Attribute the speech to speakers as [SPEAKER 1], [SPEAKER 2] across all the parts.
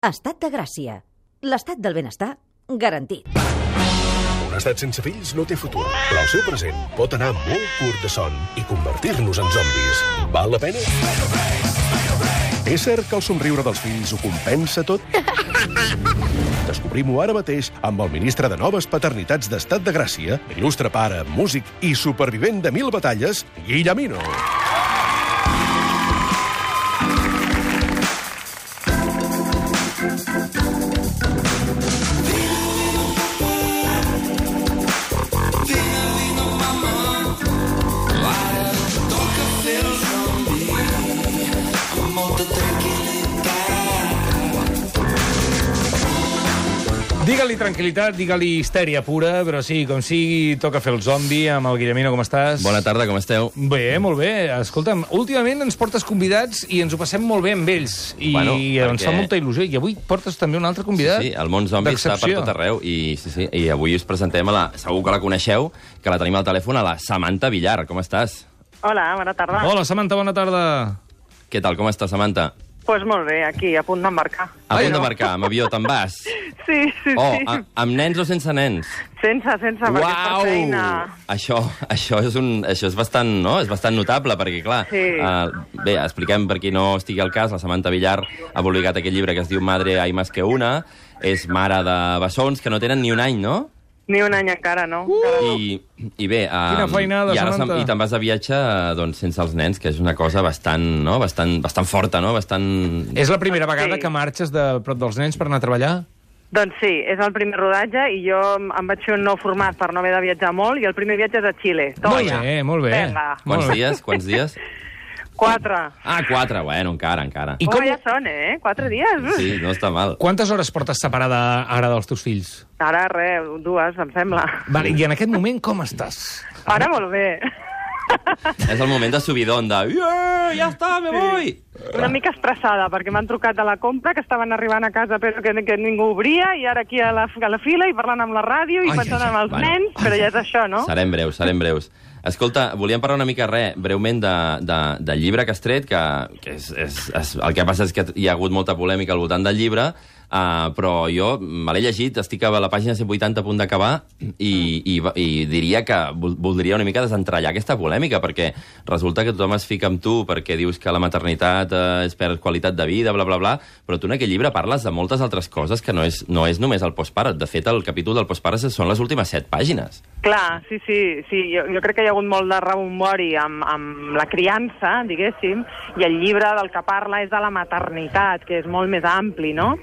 [SPEAKER 1] Estat de Gràcia. L'estat del benestar garantit.
[SPEAKER 2] Un estat sense fills no té futur, però el seu present pot anar molt curt de son i convertir-nos en zombis. Val la pena? És cert que el somriure dels fills ho compensa tot? Descobrim-ho ara mateix amb el ministre de Noves Paternitats d'Estat de Gràcia, il·lustre pare, músic i supervivent de mil batalles, Guillemino.
[SPEAKER 3] Digue-li tranquil·litat, digue-li histèria pura, però sí, com sigui, toca fer el zombi amb el Guillemino, com estàs?
[SPEAKER 4] Bona tarda, com esteu?
[SPEAKER 3] Bé, molt bé. Escolta'm, últimament ens portes convidats i ens ho passem molt bé amb ells. I
[SPEAKER 4] Bueno,
[SPEAKER 3] ens fa
[SPEAKER 4] perquè-
[SPEAKER 3] molta il·lusió. I avui portes també un altre convidat.
[SPEAKER 4] Sí, el món zombi està per
[SPEAKER 3] d'excepció.
[SPEAKER 4] tot arreu i, sí, sí, i avui us presentem a la... Segur que la coneixeu, que la tenim al telèfon, a la Samantha Villar. Com estàs?
[SPEAKER 5] Hola, bona tarda. Doncs
[SPEAKER 3] Hola, Samantha, bona tarda.
[SPEAKER 4] Què tal, com estàs, Samantha?
[SPEAKER 5] pues molt bé, aquí, a punt d'embarcar.
[SPEAKER 4] A
[SPEAKER 3] Ai,
[SPEAKER 4] punt
[SPEAKER 3] no.
[SPEAKER 4] de marcar, amb avió te'n vas?
[SPEAKER 5] Sí, sí,
[SPEAKER 4] Oh,
[SPEAKER 5] sí.
[SPEAKER 3] ah.
[SPEAKER 4] a, amb nens o sense nens?
[SPEAKER 5] Sense, sense, perquè és per feina...
[SPEAKER 4] Això, això, és un, això és, bastant, no? és bastant notable, perquè, clar...
[SPEAKER 5] Sí.
[SPEAKER 4] eh, bé, expliquem per qui no estigui al cas, la Samantha Villar ha publicat aquest llibre que es diu Madre hay más que una, és mare de bessons que no tenen ni un any, no?
[SPEAKER 5] Ni un any encara, no?
[SPEAKER 3] Uh.
[SPEAKER 5] Encara no.
[SPEAKER 4] I, i bé... Um,
[SPEAKER 3] Quina feinada,
[SPEAKER 4] i ara
[SPEAKER 3] Samantha.
[SPEAKER 4] se'n- I te'n vas de viatge eh, doncs, sense els nens, que és una cosa bastant, no? bastant, bastant forta, no? Bastant...
[SPEAKER 3] És la primera vegada
[SPEAKER 5] Sí.
[SPEAKER 3] que marxes de prop dels nens per anar a treballar?
[SPEAKER 5] Doncs sí, és el primer rodatge i jo em vaig fer un nou format per no haver de viatjar molt i el primer viatge és a Xile. Toma.
[SPEAKER 3] Molt bé, molt bé.
[SPEAKER 5] Vinga.
[SPEAKER 4] Quants
[SPEAKER 3] Molt bé.
[SPEAKER 4] dies? Quants dies?
[SPEAKER 5] Quatre.
[SPEAKER 4] Ah, quatre, bueno, encara, encara.
[SPEAKER 3] I
[SPEAKER 5] I
[SPEAKER 3] com-
[SPEAKER 5] com... Oh, ja són, eh? Quatre dies.
[SPEAKER 4] Sí, no està mal.
[SPEAKER 3] Quantes hores portes separada ara dels teus fills?
[SPEAKER 5] Ara, res, dues, em sembla.
[SPEAKER 3] Vale, I en aquest moment com estàs?
[SPEAKER 5] Ara molt bé.
[SPEAKER 4] És el moment de subidon, de... "Yeah, Ja està, me voy!
[SPEAKER 5] Una mica estressada, perquè m'han trucat de la compra, que estaven arribant a casa però que, que ningú obria, i ara aquí a la, a la fila i parlant amb la ràdio i
[SPEAKER 3] Ai,
[SPEAKER 5] pensant
[SPEAKER 3] ai, ai,
[SPEAKER 5] amb els
[SPEAKER 4] bueno.
[SPEAKER 5] nens, però ja és això, no?
[SPEAKER 4] Serem breus, serem breus. Escolta, volíem parlar una mica, re, breument de, de, del llibre que has tret, que, que és, és, és, el que passa és que hi ha hagut molta polèmica al voltant del llibre, uh, però jo me l'he llegit, estic a la pàgina 180 a punt d'acabar, i, i, va- i diria que vol- voldria una mica desentrellar aquesta polèmica, perquè resulta que tothom es fica amb tu perquè dius que la maternitat eh, és per qualitat de vida, bla, bla, bla, però tu en aquest llibre parles de moltes altres coses que no és, no és només el postpare. De fet, el capítol del postpare són les últimes set pàgines.
[SPEAKER 5] Clar, sí, sí, sí. Jo, jo crec que hi ha hagut molt de rebombori amb, amb la criança, diguéssim, i el llibre del que parla és de la maternitat, que és molt més ampli, no?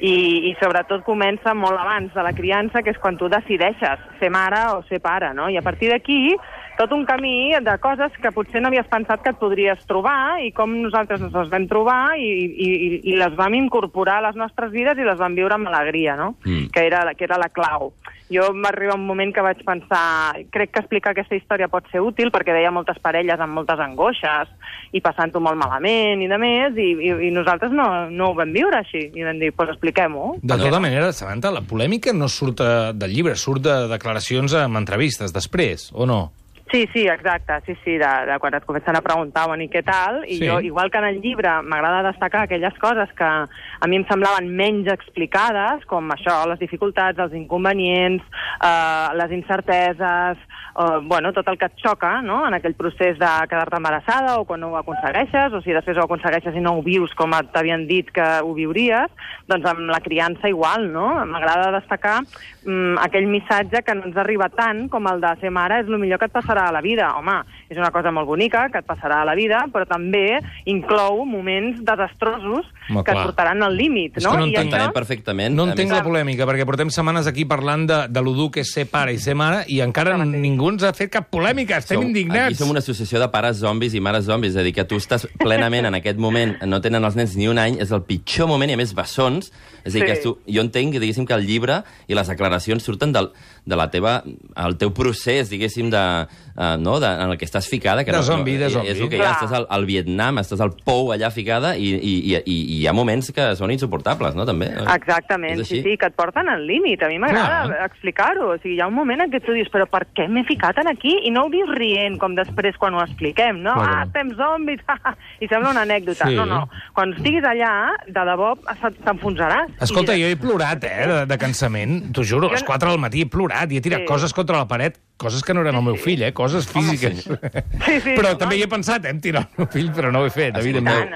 [SPEAKER 5] I, i sobretot comença molt abans de la criança, que és quan tu decideixes ser mare o ser pare, no? I a partir d'aquí, tot un camí de coses que potser no havies pensat que et podries trobar i com nosaltres ens les vam trobar i, i, i- i les vam incorporar a les nostres vides i les vam viure amb alegria, no?
[SPEAKER 4] Mm.
[SPEAKER 5] Mm que era, la- que era la clau. Jo m'arriba un moment que vaig pensar, crec que explicar aquesta història pot ser útil perquè veia moltes parelles amb moltes angoixes i passant-ho molt malament i de més, i, i, i nosaltres no, no ho vam viure així. I vam dir, doncs pues expliquem-ho.
[SPEAKER 3] De tota manera, Samantha, la polèmica no surt eh, del llibre, surt de declaracions amb entrevistes després, o no?
[SPEAKER 5] Sí, sí, exacte, sí, sí, de, de quan et comencen a preguntar, bueno, i què tal,
[SPEAKER 3] Sí.
[SPEAKER 5] i sí. jo, igual que en el llibre, m'agrada destacar aquelles coses que a mi em semblaven menys explicades, com això, les dificultats, els inconvenients, eh, les incerteses, eh, bueno, tot el que et xoca, no?, en aquell procés de quedar-te embarassada o quan no ho aconsegueixes, o si després ho aconsegueixes i no ho vius com et- t'havien dit que ho viuries, doncs amb la criança igual, no? M'agrada destacar mm, aquell missatge que no ens arriba tant com el de ser mare és el millor que et passarà a la vida. Home, és una cosa molt bonica que et passarà a la vida, però també inclou moments desastrosos
[SPEAKER 3] Home,
[SPEAKER 5] que
[SPEAKER 3] clar.
[SPEAKER 5] et portaran al límit,
[SPEAKER 3] És
[SPEAKER 5] no?
[SPEAKER 3] que no
[SPEAKER 5] I
[SPEAKER 3] entenem
[SPEAKER 4] Entenem
[SPEAKER 5] això-
[SPEAKER 4] perfectament.
[SPEAKER 3] No
[SPEAKER 4] A
[SPEAKER 3] entenc
[SPEAKER 4] més,
[SPEAKER 3] la polèmica, perquè portem setmanes aquí parlant de, de lo dur que és ser pare i ser mare i encara ningú ens ha fet cap polèmica. Estem
[SPEAKER 4] som-
[SPEAKER 3] indignats.
[SPEAKER 4] Aquí som una associació de pares zombis i mares zombis, és a dir, que tu estàs plenament en aquest moment, no tenen els nens ni un any, és el pitjor moment, i a més bessons. És a dir,
[SPEAKER 5] Sí.
[SPEAKER 4] que tu, jo entenc que, diguéssim, que el llibre i les declaracions surten del, de la teva, el teu procés, diguéssim, de, uh, no, de, en el que estàs ficada. Que
[SPEAKER 3] De
[SPEAKER 4] no,
[SPEAKER 3] zombi, de
[SPEAKER 4] no,
[SPEAKER 3] zombi.
[SPEAKER 4] És el que ja
[SPEAKER 5] Clar.
[SPEAKER 4] estàs al, al Vietnam, estàs al pou allà ficada, i, i, i, i, i hi ha moments que són insuportables, no?, també.
[SPEAKER 5] Exactament,
[SPEAKER 4] És
[SPEAKER 5] sí,
[SPEAKER 4] així?
[SPEAKER 5] sí, que et porten al límit. A mi m'agrada
[SPEAKER 3] Clar.
[SPEAKER 5] explicar-ho. O sigui, hi ha un moment en què tu dius, però per què m'he ficat en aquí i no ho dius rient, com després quan ho expliquem, no?
[SPEAKER 3] Claro.
[SPEAKER 5] Ah, estem zombis, i sembla una anècdota.
[SPEAKER 3] Sí.
[SPEAKER 5] No, no. Quan estiguis allà, de debò, se- t'enfonsaràs.
[SPEAKER 3] Escolta,
[SPEAKER 5] I
[SPEAKER 3] jo he plorat, eh, de, de cansament. T'ho juro, a les 4 del matí he plorat i he tirat
[SPEAKER 5] Sí.
[SPEAKER 3] coses contra la paret, coses que no eren el meu fill, eh, coses físiques.
[SPEAKER 5] Sí, sí,
[SPEAKER 3] però
[SPEAKER 5] no,
[SPEAKER 3] també
[SPEAKER 5] no.
[SPEAKER 3] hi he pensat, eh, em tirat el meu fill, però no ho he fet,
[SPEAKER 5] tant.
[SPEAKER 3] evidentment.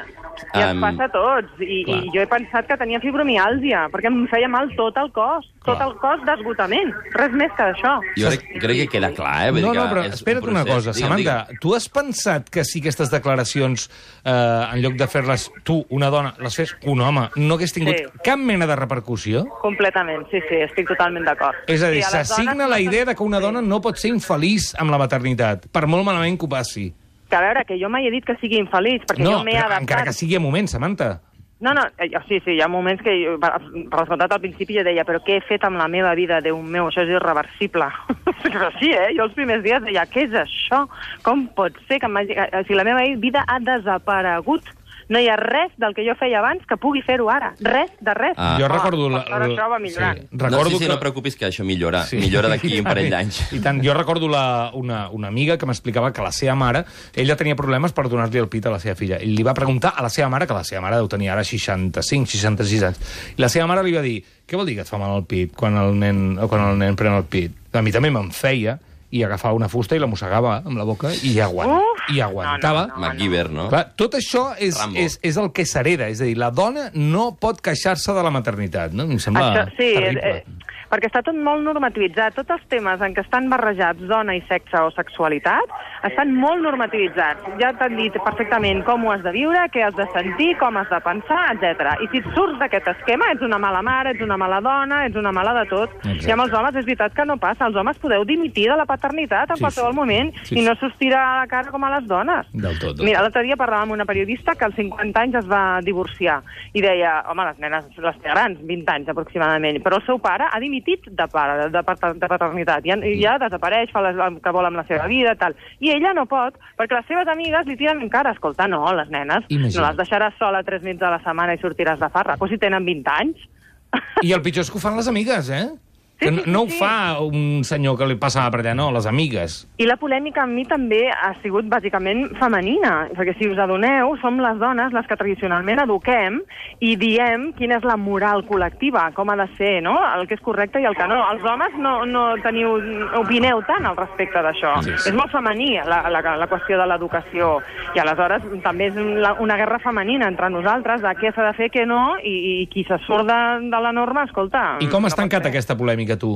[SPEAKER 5] I ens
[SPEAKER 4] Em,
[SPEAKER 5] passa a tots. I,
[SPEAKER 3] clar.
[SPEAKER 5] I jo he pensat que tenia fibromiàlgia, perquè em feia mal tot el cos, tot
[SPEAKER 3] Clar.
[SPEAKER 5] el cos d'esgotament. Res més que això.
[SPEAKER 4] Jo crec, crec que queda clar, eh? Vull
[SPEAKER 3] No,
[SPEAKER 4] dir
[SPEAKER 3] no,
[SPEAKER 4] que
[SPEAKER 3] però
[SPEAKER 4] és un
[SPEAKER 3] espera't una
[SPEAKER 4] procés.
[SPEAKER 3] cosa, Samantha. Tu has pensat que si aquestes declaracions, eh, en lloc de fer-les tu, una dona, les fes un home, no hagués tingut
[SPEAKER 5] Sí.
[SPEAKER 3] cap mena de repercussió?
[SPEAKER 5] Completament, sí, sí, estic totalment d'acord.
[SPEAKER 3] És a dir,
[SPEAKER 5] Sí, les
[SPEAKER 3] s'assigna
[SPEAKER 5] dones-
[SPEAKER 3] la idea de que una dona no pot ser infeliç amb la maternitat, per molt malament que ho passi.
[SPEAKER 5] Que a veure, que jo mai he dit que sigui infeliç, perquè
[SPEAKER 3] No,
[SPEAKER 5] jo m'he
[SPEAKER 3] però
[SPEAKER 5] adaptat.
[SPEAKER 3] encara que sigui a moments, Samantha.
[SPEAKER 5] No, no, eh, sí, sí, hi ha moments que, jo, per per descomptat, al principi jo deia, però què he fet amb la meva vida, Déu meu, això és irreversible. però sí, eh? Jo els primers dies deia, què és això? Com pot ser que m'hagi... eh, Si la meva vida ha desaparegut, no hi ha res del que jo feia abans que pugui fer-ho ara. Res de res.
[SPEAKER 4] Ah.
[SPEAKER 3] Jo recordo...
[SPEAKER 5] La, la, això va millorar.
[SPEAKER 3] Sí,
[SPEAKER 5] Sí.
[SPEAKER 4] Recordo
[SPEAKER 3] recordo
[SPEAKER 4] no, sí, sí,
[SPEAKER 3] que...
[SPEAKER 4] no et preocupis que això millora. Sí. Millora d'aquí un parell d'anys.
[SPEAKER 3] I tant, jo recordo la, una, una amiga que m'explicava que la seva mare, ella tenia problemes per donar-li el pit a la seva filla. I li va preguntar a la seva mare, que la seva mare deu tenir ara 65, 66 anys, i la seva mare li va dir, què vol dir que et fa mal el pit quan el nen, o quan el nen pren el pit? A mi també me'n feia, i agafava una fusta i la mossegava amb la boca i, aguant,
[SPEAKER 5] Uf!
[SPEAKER 3] i aguantava.
[SPEAKER 5] No, no.
[SPEAKER 4] MacGyver, no?
[SPEAKER 3] Clar, tot això és,
[SPEAKER 4] Rambo.
[SPEAKER 3] és, és el que s'hereda, és a dir, la dona no pot queixar-se de la maternitat, no? Em sembla
[SPEAKER 5] Això, sí,
[SPEAKER 3] terrible.
[SPEAKER 5] eh, eh, perquè està tot molt normativitzat. Tots els temes en què estan barrejats dona i sexe o sexualitat estan molt normativitzats. Ja t'han dit perfectament com ho has de viure, què has de sentir, com has de pensar, etc. I si et surts d'aquest esquema, ets una mala mare, ets una mala dona, ets una mala de tot.
[SPEAKER 3] Exacte.
[SPEAKER 5] I amb els homes és veritat que no passa. Els homes podeu dimitir de la paternitat en
[SPEAKER 3] Sí,
[SPEAKER 5] sí, qualsevol
[SPEAKER 3] sí.
[SPEAKER 5] moment
[SPEAKER 3] Sí,
[SPEAKER 5] sí, i no
[SPEAKER 3] sí.
[SPEAKER 5] s'us tira a la cara com a les dones.
[SPEAKER 3] Del tot, del
[SPEAKER 5] Mira,
[SPEAKER 3] tot.
[SPEAKER 5] l'altre dia parlava amb una periodista que als 50 anys es va divorciar i deia, home, les nenes, les té grans, 20 anys aproximadament, però el seu pare ha dimitit de, pare, de, de, pater- de paternitat, ja, ja desapareix, fa les, el que vol amb la seva vida, tal. I ella no pot, perquè les seves amigues li tiren en cara, escolta, no, les nenes,
[SPEAKER 3] Imagina't.
[SPEAKER 5] no les deixaràs sola tres nits a la setmana i sortiràs de farra, però si tenen 20 anys...
[SPEAKER 3] I el pitjor és que ho fan les amigues, eh?
[SPEAKER 5] Sí,
[SPEAKER 3] Que no,
[SPEAKER 5] sí, sí,
[SPEAKER 3] no ho
[SPEAKER 5] sí.
[SPEAKER 3] fa un senyor que li passava per allà, no, les amigues.
[SPEAKER 5] I la polèmica amb mi també ha sigut bàsicament femenina, perquè si us adoneu, som les dones les que tradicionalment eduquem i diem quina és la moral col·lectiva, com ha de ser, no? el que és correcte i el que no. Els homes no, no teniu, opineu tant al respecte d'això.
[SPEAKER 3] Sí,
[SPEAKER 5] Sí,
[SPEAKER 3] sí.
[SPEAKER 5] sí. És molt femení la, la, la qüestió de l'educació i aleshores també és la, una guerra femenina entre nosaltres de què s'ha de fer, què no, i, i qui se surt de, de la norma, escolta...
[SPEAKER 3] I com has
[SPEAKER 5] no pot
[SPEAKER 3] tancat
[SPEAKER 5] ser.
[SPEAKER 3] aquesta polèmica, tu?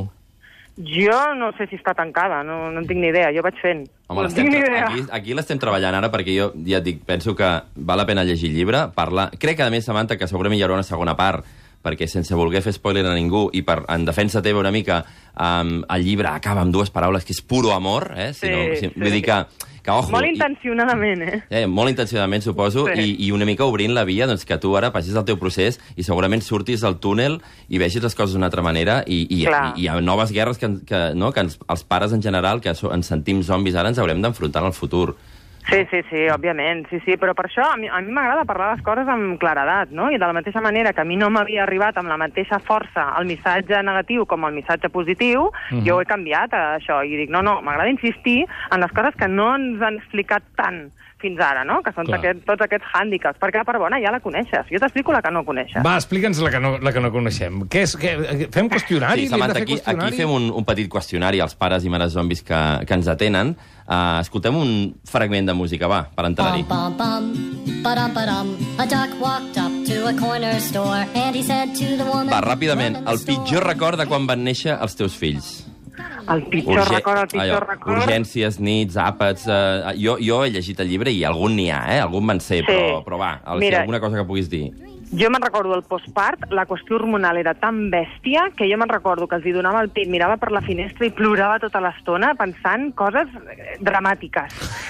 [SPEAKER 5] Jo no sé si està tancada, no, no en tinc ni idea, jo vaig fent.
[SPEAKER 4] Home,
[SPEAKER 5] no
[SPEAKER 4] l'estem
[SPEAKER 5] tinc ni
[SPEAKER 4] tra-
[SPEAKER 5] idea.
[SPEAKER 4] aquí, aquí l'estem treballant ara perquè jo ja et dic, penso que val la pena llegir el llibre, parlar... Crec que, a més, Samantha, que segurament hi haurà una segona part, perquè sense voler fer spoiler a ningú i per, en defensa teva una mica, um, el llibre acaba amb dues paraules, que és puro amor, eh? Si
[SPEAKER 5] Sí,
[SPEAKER 4] no, si,
[SPEAKER 5] sí.
[SPEAKER 4] Vull dir que, que ojo...
[SPEAKER 5] Molt
[SPEAKER 4] i-
[SPEAKER 5] intencionadament, eh?
[SPEAKER 4] Eh, molt intencionadament, suposo,
[SPEAKER 5] Sí.
[SPEAKER 4] sí. i, i una mica obrint la via doncs, que tu ara passis el teu procés i segurament surtis del túnel i vegis les coses d'una altra manera i, i, i,
[SPEAKER 5] Clar.
[SPEAKER 4] hi ha noves guerres que, que, no, que ens, els pares en general, que so, ens sentim zombis ara, ens haurem d'enfrontar en el futur.
[SPEAKER 5] Sí, sí, sí, òbviament, sí, sí, però per això a mi a mi m'agrada parlar les coses amb claredat, no? I de la mateixa manera que a mi no m'havia arribat amb la mateixa força el missatge negatiu com el missatge positiu,
[SPEAKER 4] Mhm.
[SPEAKER 5] jo ho he canviat a això i dic, no, no, m'agrada insistir en les coses que no ens han explicat tant fins ara, no? Que són
[SPEAKER 3] Clar.
[SPEAKER 5] aquest, tots aquests hàndicaps, perquè la part bona ja la coneixes, jo t'explico la que no coneixes.
[SPEAKER 3] Va, explica'ns la, que no, la que no coneixem. Què és, què, fem qüestionari?
[SPEAKER 4] Sí, Samantha,
[SPEAKER 3] Ah, Li hem de
[SPEAKER 4] aquí,
[SPEAKER 3] fer
[SPEAKER 4] aquí
[SPEAKER 3] qüestionari?
[SPEAKER 4] fem un, un petit qüestionari als pares i mares zombis que, que ens atenen. Uh, escoltem un fragment de música, va, per entrar-hi.
[SPEAKER 6] Bum, bum, bum, ba-dum, ba-dum. A duck walked up to a corner store and he said to the woman...
[SPEAKER 4] Va, ràpidament,
[SPEAKER 6] "Run in
[SPEAKER 4] el
[SPEAKER 6] the
[SPEAKER 4] pitjor
[SPEAKER 6] store."
[SPEAKER 4] record de quan van néixer els teus fills.
[SPEAKER 5] El pitjor
[SPEAKER 4] Urge-
[SPEAKER 5] record, el pitjor
[SPEAKER 4] allò,
[SPEAKER 5] record...
[SPEAKER 4] Urgències, nits, àpats... Eh, jo, jo he llegit el llibre i algun n'hi ha, eh? Algun me'n sé,
[SPEAKER 5] Sí.
[SPEAKER 4] però, però va, el, Mira,
[SPEAKER 5] Mira.
[SPEAKER 4] alguna cosa que puguis dir.
[SPEAKER 5] Jo me'n recordo del postpart, la qüestió hormonal era tan bèstia que jo me'n recordo que els hi donava el pit, mirava per la finestra i plorava tota l'estona pensant coses eh, dramàtiques.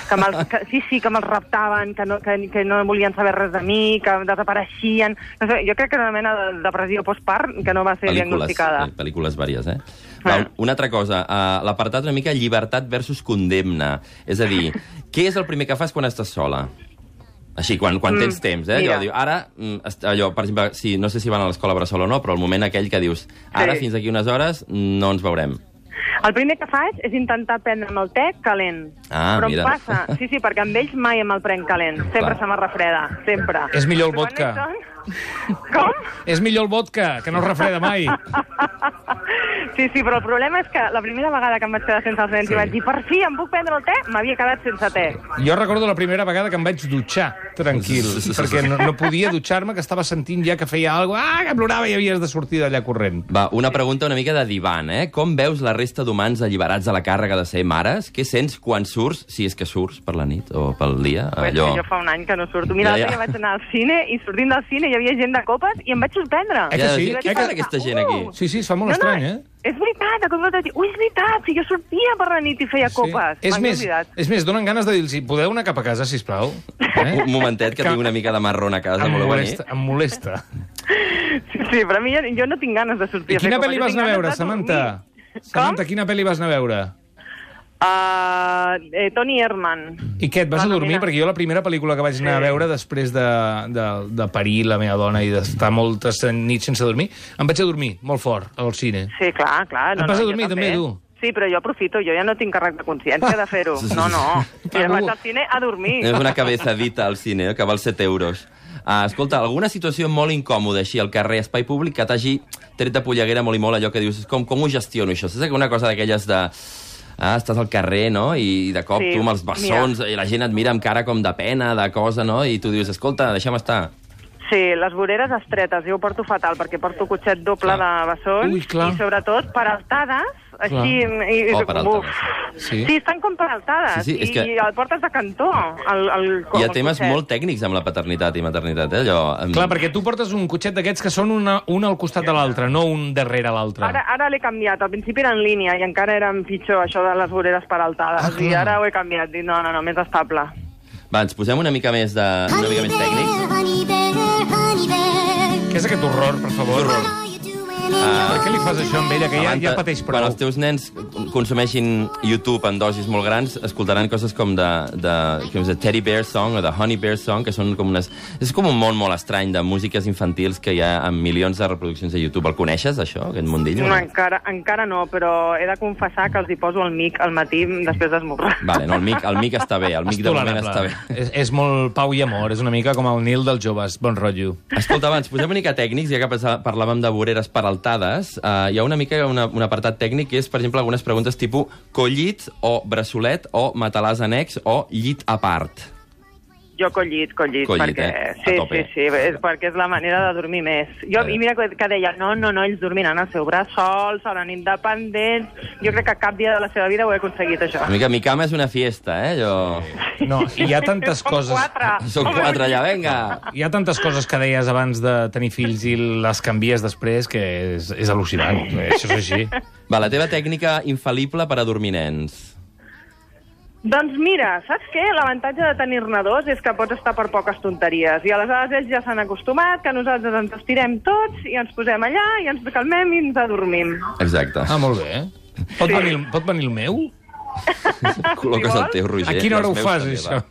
[SPEAKER 5] Que me'ls- que, sí, sí, que me'ls raptaven, que no, que, que no volien saber res de mi, que desapareixien... No sé, jo crec que era una mena de depressió postpart que no va ser diagnosticada.
[SPEAKER 4] eh, pel·lícules vàries, eh? Va,
[SPEAKER 5] Ah.
[SPEAKER 4] una altra cosa, uh, l'apartat una mica llibertat versus condemna. És a dir, què és el primer que fas quan estàs sola? Així, quan, quan tens temps, eh? Allò,
[SPEAKER 5] Mm, mira.
[SPEAKER 4] diu, ara, mm, est- allò, per exemple, sí, no sé si van a l'escola Bressol o no, però el moment aquell que dius, ara
[SPEAKER 5] Sí.
[SPEAKER 4] fins aquí unes hores no ens veurem.
[SPEAKER 5] El primer que faig és intentar prendre'm el te calent.
[SPEAKER 4] Ah,
[SPEAKER 5] Però
[SPEAKER 4] mira.
[SPEAKER 5] em passa... Sí, sí, perquè amb ells mai em el prenc calent. Sempre
[SPEAKER 4] Clar.
[SPEAKER 5] se me refreda, sempre.
[SPEAKER 3] És millor el
[SPEAKER 5] Però quan
[SPEAKER 3] vodka.
[SPEAKER 5] ells són- Com?
[SPEAKER 3] És millor el vodka, que no es refreda mai.
[SPEAKER 5] Sí, sí, però el problema és que la primera vegada que em vaig quedar sense els nens
[SPEAKER 3] Sí.
[SPEAKER 5] sí. i vaig dir, per fi, em puc prendre el te? M'havia quedat sense te.
[SPEAKER 3] Jo recordo la primera vegada que em vaig dutxar, tranquil, perquè no, no podia dutxar-me, que estava sentint ja que feia alguna cosa, ah, que plorava i havies de sortir d'allà corrent.
[SPEAKER 4] Va, una pregunta una mica de divan, eh? Com veus la resta d'humans alliberats de la càrrega de ser mares? Què sents quan surts, si és que surts per la nit o pel dia? Ah,
[SPEAKER 5] Pues,
[SPEAKER 4] Allò...
[SPEAKER 5] Jo fa un any que no surto. Mira,
[SPEAKER 4] Ja,
[SPEAKER 5] ja,
[SPEAKER 4] ja.
[SPEAKER 5] ja. vaig anar al cine i sortint del cine hi havia gent de copes i em vaig sorprendre.
[SPEAKER 3] Eh que sí?
[SPEAKER 4] de-
[SPEAKER 3] Eh
[SPEAKER 4] Què
[SPEAKER 3] que-
[SPEAKER 4] fan aquesta gent aquí?
[SPEAKER 3] Sí, sí, es fa molt no, estrany, eh?
[SPEAKER 5] És veritat, de cop i volta dic, ui, és veritat, si jo sortia per la nit i feia copes.
[SPEAKER 3] És
[SPEAKER 5] M'havia
[SPEAKER 3] més,
[SPEAKER 5] oblidat.
[SPEAKER 3] és més, donen ganes de dir-los, podeu anar cap a casa, sisplau? Eh?
[SPEAKER 4] Un momentet, que tinc una mica de marrón a casa,
[SPEAKER 3] Em
[SPEAKER 4] voleu venir?
[SPEAKER 3] molesta, em molesta.
[SPEAKER 5] Sí, sí, però a mi jo, jo no tinc ganes de sortir
[SPEAKER 3] I
[SPEAKER 5] a fer
[SPEAKER 3] quina
[SPEAKER 5] copes.
[SPEAKER 3] pel·li
[SPEAKER 5] jo
[SPEAKER 3] vas
[SPEAKER 5] tinc
[SPEAKER 3] anar a
[SPEAKER 5] ganes
[SPEAKER 3] veure,
[SPEAKER 5] de dormir.
[SPEAKER 3] Samantha? Samantha,
[SPEAKER 5] Com?
[SPEAKER 3] quina pel·li vas anar a veure?
[SPEAKER 5] Uh, eh, Tony Herman.
[SPEAKER 3] I què, et vas a
[SPEAKER 5] No, no,
[SPEAKER 3] dormir?
[SPEAKER 5] mira.
[SPEAKER 3] Perquè jo la primera pel·lícula que vaig anar a veure després de, de, de parir la meva dona i d'estar moltes nits sense dormir, em vaig a dormir molt fort al cine.
[SPEAKER 5] Sí, clar, clar.
[SPEAKER 3] Et vas a
[SPEAKER 5] jo
[SPEAKER 3] dormir, també, tu?
[SPEAKER 5] Sí, però jo aprofito, jo ja no tinc càrrec de consciència de fer-ho. No, no, jo
[SPEAKER 3] Però
[SPEAKER 5] ja vaig
[SPEAKER 3] no-
[SPEAKER 5] al cine a dormir.
[SPEAKER 4] És una cabezadita al cine, eh, que val 7 euros. Ah, escolta, alguna situació molt incòmoda així al carrer, espai públic, que t'hagi tret de polleguera molt i molt allò que dius, com, com ho gestiono això? Saps una cosa d'aquelles de... Ah, estàs al carrer, no?, i de cop
[SPEAKER 5] Sí,
[SPEAKER 4] tu amb els bessons i la gent et mira amb cara com de pena, de cosa, no?, i tu dius, escolta, deixa'm estar.
[SPEAKER 5] Sí, les voreres estretes, jo ho porto fatal, perquè porto cotxet doble de bessons,
[SPEAKER 3] Ui, clar.
[SPEAKER 5] i sobretot peraltades, així... I, i-
[SPEAKER 4] Oh, peraltades.
[SPEAKER 5] Uf.
[SPEAKER 3] Sí.
[SPEAKER 5] Sí. sí, estan com peraltades,
[SPEAKER 4] Sí, sí, és que-
[SPEAKER 5] i el portes de cantó, el, el, com
[SPEAKER 4] Hi ha
[SPEAKER 5] el
[SPEAKER 4] temes
[SPEAKER 5] cotxet.
[SPEAKER 4] molt tècnics amb la paternitat i maternitat, eh? Allò, amb...
[SPEAKER 3] Clar, perquè tu portes un cotxet d'aquests que són una, un al costat de l'altre, no un darrere l'altre.
[SPEAKER 5] Ara, ara l'he canviat, al principi era en línia i encara era pitjor això de les voreres peraltades,
[SPEAKER 3] Ah,
[SPEAKER 5] i
[SPEAKER 3] clar.
[SPEAKER 5] ara ho he canviat, dic, no, no, no, més estable.
[SPEAKER 4] Va, ens posem una mica més, de... una mica més tècnics.
[SPEAKER 6] honey bear, honey bear.
[SPEAKER 3] Què és aquest horror, per favor?
[SPEAKER 6] What are you doing in
[SPEAKER 4] Ah.
[SPEAKER 3] Per
[SPEAKER 6] your
[SPEAKER 3] què li fas això amb ella, que ja,
[SPEAKER 4] Abans de-
[SPEAKER 3] ja pateix prou?
[SPEAKER 4] Quan els teus nens consumeixin YouTube en dosis molt grans, escoltaran coses com de, de, com de Teddy Bear Song o de Honey Bear Song, que són com unes... És com un món molt estrany de músiques infantils que hi ha amb milions de reproduccions de YouTube. El coneixes, això, aquest mundillo?
[SPEAKER 5] No, encara, encara no, però he de confessar que els hi poso el mic al matí després d'esmorzar.
[SPEAKER 4] Vale, no, el mic, el mic està bé, el mic de moment està bé.
[SPEAKER 3] És, és molt pau i amor, és una mica com el Nil dels joves, bon rotllo.
[SPEAKER 4] Escolta, abans, posem una mica tècnics, ja que passa- parlàvem de voreres peraltades, uh, hi ha una mica una, un apartat tècnic que és, per exemple, algunes preguntes tipus collit o braçolet o matalàs annex o llit a part.
[SPEAKER 5] Jo collit, collit,
[SPEAKER 4] Collit,
[SPEAKER 5] perquè...
[SPEAKER 4] eh? A
[SPEAKER 5] Sí, sí,
[SPEAKER 4] tope.
[SPEAKER 5] sí, és perquè és la manera de dormir més. Jo,
[SPEAKER 4] Eh.
[SPEAKER 5] I mira que, que deia, no, no, no, ells dormiran al seu braç sols, seran independents... Jo crec que cap dia de la seva vida ho he aconseguit, això.
[SPEAKER 4] Una mica, mi cama és una fiesta, eh? Jo...
[SPEAKER 3] No, hi ha tantes
[SPEAKER 5] Són
[SPEAKER 3] coses...
[SPEAKER 5] Quatre.
[SPEAKER 4] Són quatre allà, vinga!
[SPEAKER 3] Hi ha tantes coses que deies abans de tenir fills i les canvies després que és, és al·lucinant. Això és així.
[SPEAKER 4] Va, la teva tècnica infal·lible per a dormir nens.
[SPEAKER 5] Doncs mira, saps què? L'avantatge de tenir-ne dos és que pots estar per poques tonteries. I aleshores ells ja s'han acostumat que nosaltres ens estirem tots i ens posem allà i ens calmem i ens adormim.
[SPEAKER 4] Exacte.
[SPEAKER 3] Ah, molt bé. Pot, venir, el- pot venir el meu?
[SPEAKER 4] Col·loques el teu, Roger.
[SPEAKER 3] A quina hora
[SPEAKER 4] i
[SPEAKER 3] ho
[SPEAKER 4] els meus
[SPEAKER 3] fas,
[SPEAKER 4] també,
[SPEAKER 3] això?
[SPEAKER 4] va.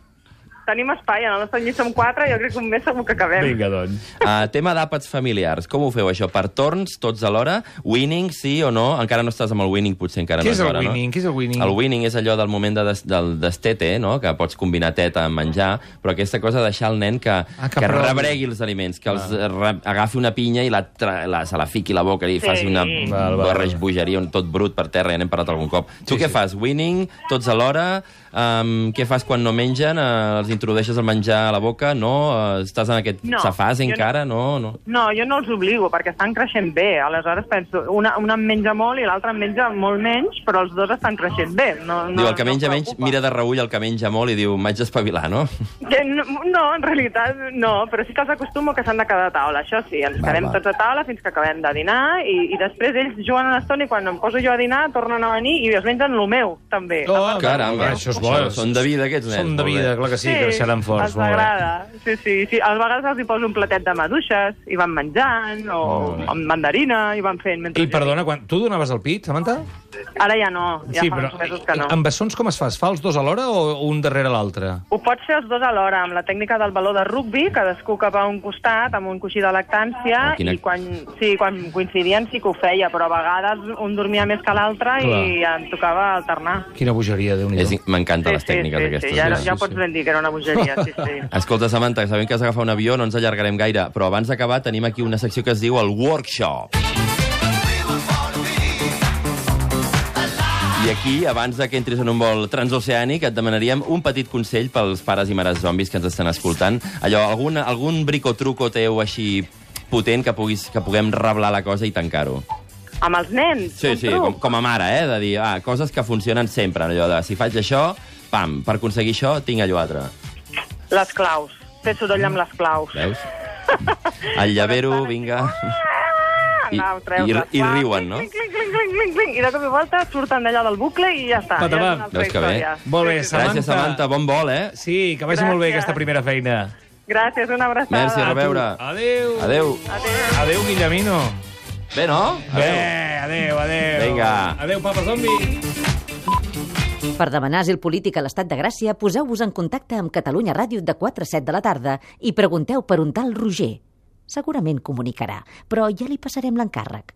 [SPEAKER 5] Tenim espai, en el nostre llit som quatre, jo crec que un mes segur que acabem.
[SPEAKER 3] Vinga, doncs.
[SPEAKER 4] Uh, tema d'àpats familiars. Com ho feu, això? Per torns, tots alhora? Winning, sí o no? Encara no estàs amb el winning, potser encara
[SPEAKER 3] Què
[SPEAKER 4] no
[SPEAKER 3] és
[SPEAKER 4] és
[SPEAKER 3] el
[SPEAKER 4] hora,
[SPEAKER 3] winning?
[SPEAKER 4] no?
[SPEAKER 3] Què és el winning?
[SPEAKER 4] El winning és allò del moment de des, del destete, no? que pots combinar teta amb menjar, però aquesta cosa de deixar el nen que, ah,
[SPEAKER 3] que
[SPEAKER 4] que, que
[SPEAKER 3] provi. Ah.
[SPEAKER 4] rebregui els aliments, que els eh, re, agafi una pinya i la, tra- la, se la fiqui a la boca i li
[SPEAKER 5] Sí.
[SPEAKER 4] faci una
[SPEAKER 3] Val, val,
[SPEAKER 4] barreja
[SPEAKER 3] val.
[SPEAKER 4] bogeria un tot brut per terra, ja n'hem parlat algun cop. Tu què fas? Winning, tots alhora? Um, què fas quan no mengen? Uh, els introdueixes el menjar a la boca? No? Uh, estàs en aquest
[SPEAKER 5] No,
[SPEAKER 4] safàs
[SPEAKER 5] jo no.
[SPEAKER 4] encara? No, no.
[SPEAKER 5] No, jo no els obligo, perquè estan creixent bé. Aleshores penso, una, una en menja molt i l'altra en menja molt menys, però els dos estan creixent bé. No, no,
[SPEAKER 4] Diu, el que
[SPEAKER 5] no
[SPEAKER 4] menja
[SPEAKER 5] em
[SPEAKER 4] menys
[SPEAKER 5] preocupa.
[SPEAKER 4] mira de reull el que menja molt i diu, m'haig d'espavilar, no?
[SPEAKER 5] Que no, no, en realitat no, però sí que els acostumo que s'han de quedar a taula, això sí. Ens
[SPEAKER 4] Va,
[SPEAKER 5] quedem
[SPEAKER 4] va.
[SPEAKER 5] tots a taula fins que acabem de dinar i, i després ells juguen una estona i quan em poso jo a dinar tornen a venir i es mengen el meu, també.
[SPEAKER 3] Oh,
[SPEAKER 4] Caramba,
[SPEAKER 3] això és bo.
[SPEAKER 4] Són de vida, aquests nens.
[SPEAKER 3] Són de
[SPEAKER 4] molt bé.
[SPEAKER 3] vida, clar que sí, que seran forts.
[SPEAKER 5] els
[SPEAKER 3] molt bé.
[SPEAKER 5] agrada. Sí, sí, sí. A vegades els hi poso un platet de maduixes i van menjant, o amb mandarina, i van fent... mentre
[SPEAKER 3] I
[SPEAKER 5] jo-
[SPEAKER 3] perdona, quan tu donaves el pit, Samantha?
[SPEAKER 5] Ara ja no, ja
[SPEAKER 3] sí,
[SPEAKER 5] fa
[SPEAKER 3] però
[SPEAKER 5] uns mesos que no.
[SPEAKER 3] amb bessons com es fa? Es fa els dos alhora o un darrere l'altre?
[SPEAKER 5] Ho pots fer els dos alhora, amb la tècnica del valor de rugby, cadascú cap a un costat, amb un coixí de lactància,
[SPEAKER 4] Oh, quina-
[SPEAKER 5] i quan, sí, quan coincidien sí que ho feia, però a vegades un dormia més que l'altre i en tocava alternar.
[SPEAKER 3] Quina bogeria, déu nhi
[SPEAKER 4] És- M'encanten les tècniques
[SPEAKER 5] sí,
[SPEAKER 4] aquestes.
[SPEAKER 5] Sí, ja,
[SPEAKER 4] mira.
[SPEAKER 5] ja pots ben dir que era una bogeria, sí, sí.
[SPEAKER 4] Escolta, Samantha, sabem que has d'agafar un avió, no ens allargarem gaire, però abans d'acabar tenim aquí una secció que es diu el Workshop. I aquí, abans de que entris en un vol transoceànic, et demanaríem un petit consell pels pares i mares zombis que ens estan escoltant. Allò, algun, algun bricotruco teu així potent que, puguis, que puguem reblar la cosa i tancar-ho.
[SPEAKER 5] Amb els nens,
[SPEAKER 4] Sí,
[SPEAKER 5] un
[SPEAKER 4] sí,
[SPEAKER 5] truc.
[SPEAKER 4] com, com a mare, eh? De dir, ah, coses que funcionen sempre. Allò de, si faig això, pam, per aconseguir això, tinc allò altre.
[SPEAKER 5] Les claus. Fer soroll amb les claus.
[SPEAKER 4] Veus? El llavero, vinga... I-
[SPEAKER 5] Anau, treus
[SPEAKER 4] i-
[SPEAKER 5] les
[SPEAKER 4] i
[SPEAKER 5] claus,
[SPEAKER 4] riuen, no?
[SPEAKER 5] clinc, clinc, clinc, clinc, clinc, clinc, I de cop i volta surten d'allà del bucle i ja està.
[SPEAKER 3] Patapam.
[SPEAKER 5] Ja és una altra
[SPEAKER 4] Veus que bé?
[SPEAKER 5] història.
[SPEAKER 3] Molt bé,
[SPEAKER 5] Sí, sí, sí.
[SPEAKER 4] Gràcies, Samantha. Bon vol, eh?
[SPEAKER 3] Sí, que vagi molt bé
[SPEAKER 5] Gràcies.
[SPEAKER 3] aquesta primera feina.
[SPEAKER 5] Gràcies, una abraçada.
[SPEAKER 4] Merci, a reveure.
[SPEAKER 3] Adéu.
[SPEAKER 4] Ah. Adeu.
[SPEAKER 3] Adéu, Guillemino.
[SPEAKER 4] Bé, no?
[SPEAKER 3] Bé, adéu, adéu.
[SPEAKER 4] Vinga.
[SPEAKER 3] Adéu, papa zombi.
[SPEAKER 1] Per demanar asil polític a l'estat de Gràcia, poseu-vos en contacte amb Catalunya Ràdio de 4 a 7 de la tarda i pregunteu per un tal Roger. Segurament comunicarà, però ja li passarem l'encàrrec.